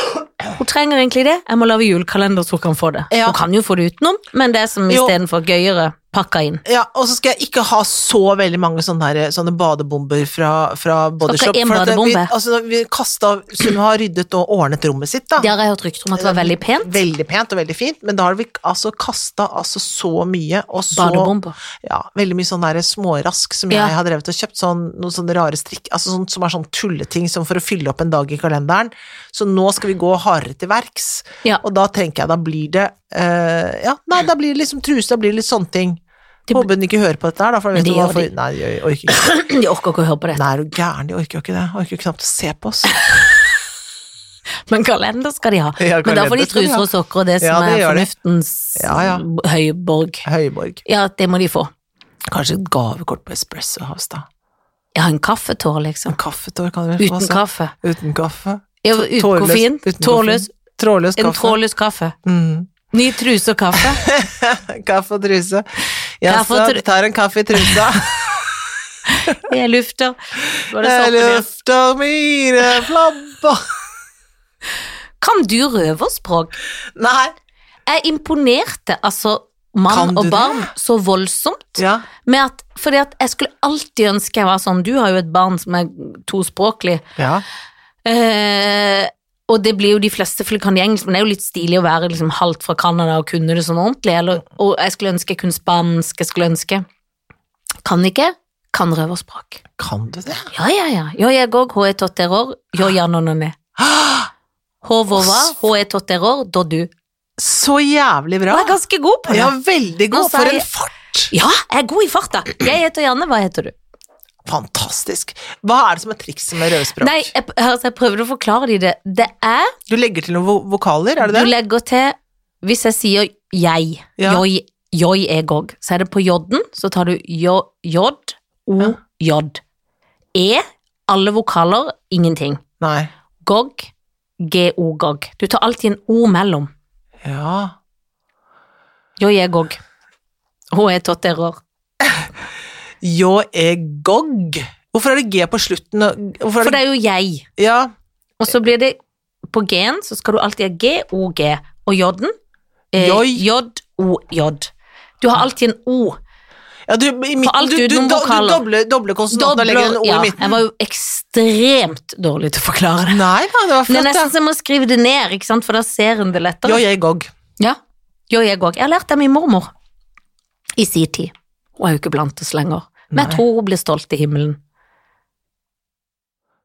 hun trenger egentlig det, jeg må lage julekalender så hun kan få det.
Ja.
Hun kan jo få det utenom, men det er som
Jo.
istedenfor gøyere pakka inn.
Ja, og så skal jeg ikke ha så veldig mange sånne, her, sånne badebomber fra, fra Bodyshop.
én
at vi,
badebombe?
altså, når vi kastet av Sunne har ryddet og ordnet rommet sitt, da.
Det har jeg hørt rykter om at det var veldig pent.
Veldig pent og veldig fint, men da har vi altså kasta altså så mye, og så
Badebomber.
Ja, veldig mye sånn der smårask som
Ja.
jeg har drevet og kjøpt, sånn, noen sånne rare strikk, altså sånn, som er sånn tulleting som for å fylle opp en dag i kalenderen. Så nå skal vi gå hardere til verks,
Ja.
og da tenker jeg da blir det eh, Ja, nei, da blir det liksom truse, da blir det litt sånne ting.
Det bl-
Håper den ikke hører på dette her, da, for jeg vet
Men det
ikke
gjør
hvorfor Nei, de gjør- orker ikke.
De orker ikke å høre på det.
Nei, er du gæren, de orker jo ikke det. Orker jo knapt å se på oss.
Men kalender skal de ha.
Ja,
Men da får de
kalender skal de
truser
ha.
og sokker og det som
Ja, det
er
gjør de.
fornuftens
Ja, ja.
høyborg.
Høyborg.
Ja, det må de få.
Kanskje et gavekort på Espresso House, da.
Ja, en kaffetår, liksom.
Kaffetår kan du vel få, altså.
Uten kaffe.
Uten kaffe.
Ja,
Tå-
uten
tårløs-
koffein.
uten
Tårløs.
koffein. Trådløs
En
kaffe.
trådløs kaffe.
Mm.
Ny truse og kaffe.
Kaffe og truse.
Kaffe
Jaså,
og tru-
du tar en kaffe i trusa.
Jeg lufter. Var det
Jeg
sånn?
lufter mine flabber.
Kan du røverspråk?
Nei.
Jeg imponerte altså
Kan
mann
du
og
det?
barn så voldsomt
Ja.
med at Fordi at jeg skulle alltid ønske jeg var sånn Du har jo et barn som er tospråklig.
ja.
Eh, og det blir jo de fleste, for det kan de engelsk, men det er jo litt stilig å være liksom halvt fra Canada og kunne det sånn ordentlig. Eller, og jeg skulle ønske jeg kunne spansk, jeg skulle ønske Kan ikke, kan røverspråk.
Kan du det?
Ja, ja, ja. Yo llegó, hoe tot error, yo ya no no ne. Hovova, hoe tot error, do du.
Så jævlig
Og
bra.
jeg er ganske god på det.
Ja, veldig
Nå
god.
sa
For
jeg-
en fart!
Ja, jeg er god i farta. Jeg heter Janne, hva heter du?
Fantastisk. Hva er det som er trikset med rødspråk?
Nei, jeg, altså, jeg prøvde å forklare de det. Det er,
Du legger til noen vo- vokaler, er det
du
det?
legger til, hvis jeg sier jeg,
Ja.
joi, joi egog, så er det på jodden, så tar du jo, jod, o,
Ja.
jod. E, alle vokaler, ingenting.
Nei.
Gog, g-o, gog. Du tar alltid en o mellom. E
Ja.
Joi egog. Hun er tatt error.
Jo er e gog. Hvorfor er det G på slutten? og- Hvorfor
For
er det,
det er jo jeg.
ja,
Og så blir det på G-en, så skal du alltid ha G-O-G. Og J-en eh,
Joi.
J-O-J. Du har alltid en O.
ja, du, i
For
midten,
alt
du, du, do,
utenom
du
vokaler.
doble, doble konsonanten og legger en O
ja,
i
jeg
midten.
var jo ekstremt dårlig til å forklare det.
Nei da, det var
Det er
flott,
nesten
det.
som å skrive det ned, ikke sant? for da ser hun det
Jo
lettere.
er gog.
Ja. Jo, jeg òg. Jeg har lært det av min mormor i sin tid. Hun er jo ikke blant oss lenger. Men
Nei.
jeg tror hun blir stolt i himmelen.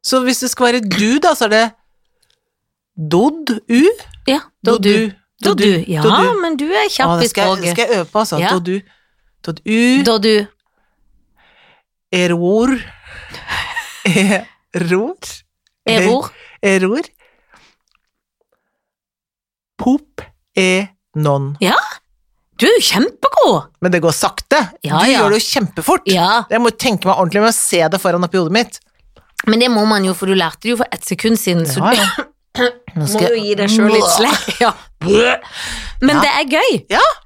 Så hvis det skal være du, da, så er det Dodd U?
Ja, da du. Da du. Ja,
Dodu.
men du er
Å,
kjapp
det
i
skal, jeg-
språket.
skal jeg øve på, altså.
Ja.
Dodd U. Dodd U.
Da du.
Eror. Eror.
Error.
Eror. Pop e non.
Du er jo kjempegod!
Men det går sakte.
Ja,
du
ja.
gjør det jo kjempefort.
Ja,
Jeg må tenke meg ordentlig med å se det foran oppi hodet mitt.
men det må man jo, for du lærte det jo for ett sekund siden, så
Ja, ja. Nå
du
skal
må jo
jeg-
gi deg sjøl litt slack. Ja. Men
Ja.
det er gøy.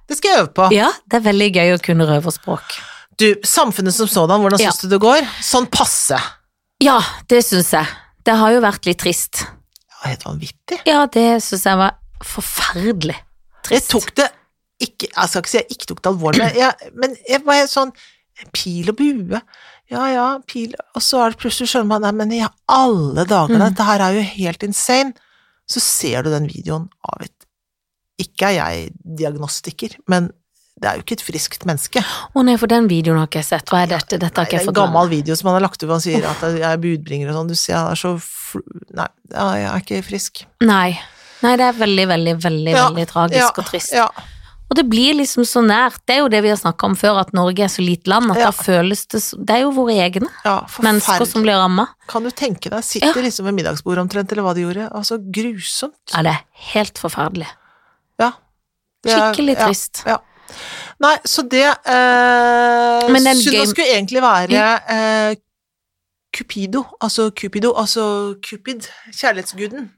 Det skal jeg øve på.
Ja, det er veldig gøy å kunne røverspråk.
Du, samfunnet som sådan, hvordan
Ja.
syns du det går? Sånn passe.
Ja, det syns jeg. Det har jo vært litt trist.
Det var helt vanvittig.
Ja, det syns jeg var forferdelig
Jeg
trist.
tok det ikke Jeg skal ikke si jeg ikke tok det alvorlig, men jeg, men jeg var helt sånn Pil og bue. Ja, ja, pil Og så er det plutselig skjønner man Nei, men i alle dager,
Mm.
dette her er jo helt insane. Så ser du den videoen av et Ikke er jeg diagnostiker, men det er jo ikke et friskt menneske.
Å nei, for den videoen har ikke jeg sett. Hva er dette? Dette har
Nei,
ikke jeg
det er en
fått med meg.
gammel video som han har lagt ut, hvor han sier at jeg er budbringer og sånn. Du ser han er så fl Nei, ja, jeg er ikke frisk.
Nei. Nei, det er veldig, veldig, veldig
Ja,
veldig tragisk
ja,
og trist.
Ja.
Og det blir liksom så nært. Det er jo det vi har snakka om før, at Norge er så lite land, at
Ja.
da føles det så Det er jo våre egne
ja
mennesker
Forferdelig.
som blir ramma.
Kan du tenke deg, sitter liksom ved middagsbordet omtrent, eller hva de gjorde. Altså, grusomt.
Ja, det er helt forferdelig.
Ja. Det er-
Skikkelig
ja.
trist.
Nei, så det eh,
Men den
Sunna
game-
skulle egentlig være eh, Cupido, altså Cupido, altså Cupid, kjærlighetsguden,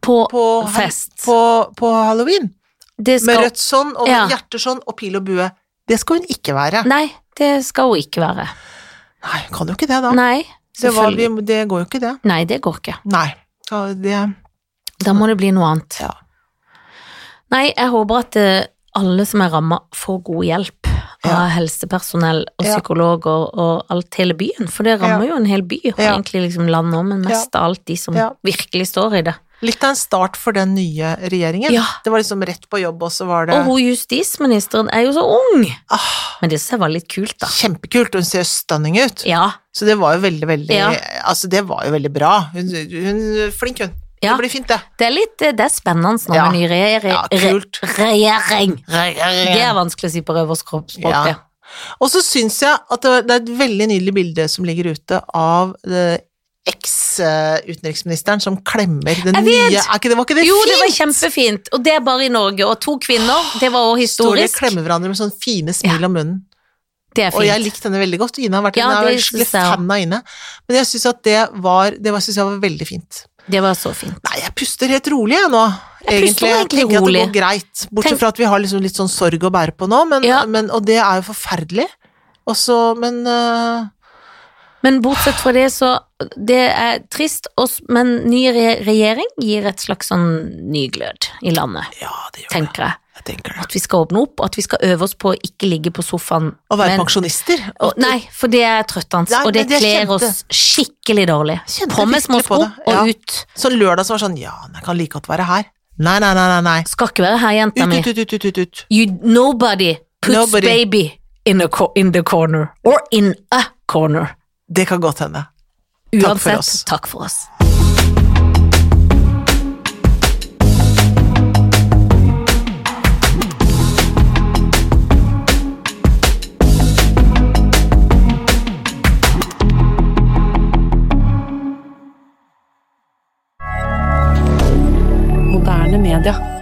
På,
på,
fest.
på, på halloween.
det
Med
skal,
rødt sånn, og
Ja.
hjerter sånn, og pil og bue. Det skal hun ikke være.
Nei, det skal hun ikke være.
Nei, kan jo ikke det, da.
Nei,
det, var, vi,
selvfølgelig.
det går jo ikke, det.
Nei, det går ikke.
Nei. Ja, Det,
Da må det bli noe annet.
Ja.
Nei, jeg håper at eh, alle som er ramma, får god hjelp av
Ja.
helsepersonell og
Ja.
psykologer og alt hele byen. For det rammer jo en hel by, og
Ja.
egentlig liksom landet òg, men mest av alt de som
Ja.
virkelig står i det.
litt av en start for den nye regjeringen.
Ja.
Det var liksom rett på jobb, og så var det
Og hun justisministeren er jo så ung!
ah,
Men det synes jeg var litt kult, da.
Kjempekult, hun ser stunning ut.
Ja,
Så det var jo veldig, veldig
Ja.
Altså, det var jo veldig bra. Hun, hun flink, hun.
Ja.
Det blir fint, det.
det er litt eh, det er spennende nå
Ja.
med ny re
Ja,
re
kult.
regjering. Det
Ja.
er vanskelig å si på røverskroppsspråket.
Og så syns jeg at det var- det er et veldig nydelig bilde som ligger ute av eh, eks-utenriksministeren som klemmer den
Jeg vet!
nye er ikke, det, Var ikke det
Jo,
fint?
det var kjempefint, og det er bare i Norge. Og to kvinner, det var også
Store
historisk.
klemmer hverandre med sånne fine smil om munnen.
Det er
Og jeg
fint.
likte henne veldig godt. Ine har vært
Ja,
hun er
det
en skikkelig
synes jeg også.
fan av Ine. Men jeg syns at det var Det var, synes jeg var veldig fint.
Det var så fint.
Nei, jeg puster helt rolig jeg nå.
Jeg puster
tenker
egentlig
at det
rolig.
går greit. Bortsett
Tenk-
fra at vi har liksom litt sånn sorg å bære på nå, men,
Ja.
men, og det er jo forferdelig. Og så, men øh,
Men bortsett fra det, så Det er trist, og s- men ny re regjering gir et slags sånn ny glød i landet,
Ja, det gjør det.
tenker jeg.
Jeg tenker det.
At vi skal åpne opp, og at vi skal øve oss på å ikke ligge på sofaen.
Å være
men-
pensjonister.
og, Nei, for det er trøttende,
Nei,
og det
men det
kler
kjente-
oss skikkelig dårlig.
Kjente
På med små
virkelig på
sko
det, ja.
og ut.
Så lørdag så var det sånn Ja, jeg kan like godt være her. Nei, nei, nei, nei. nei.
Skal ikke være her, jenta mi.
Ut, ut, ut, ut, ut, ut.
You, nobody puts
Nobody.
baby in, a co in the corner. Or in a corner.
Det kan godt hende.
Uansett,
Takk for oss.
Takk for oss.
Moderne media.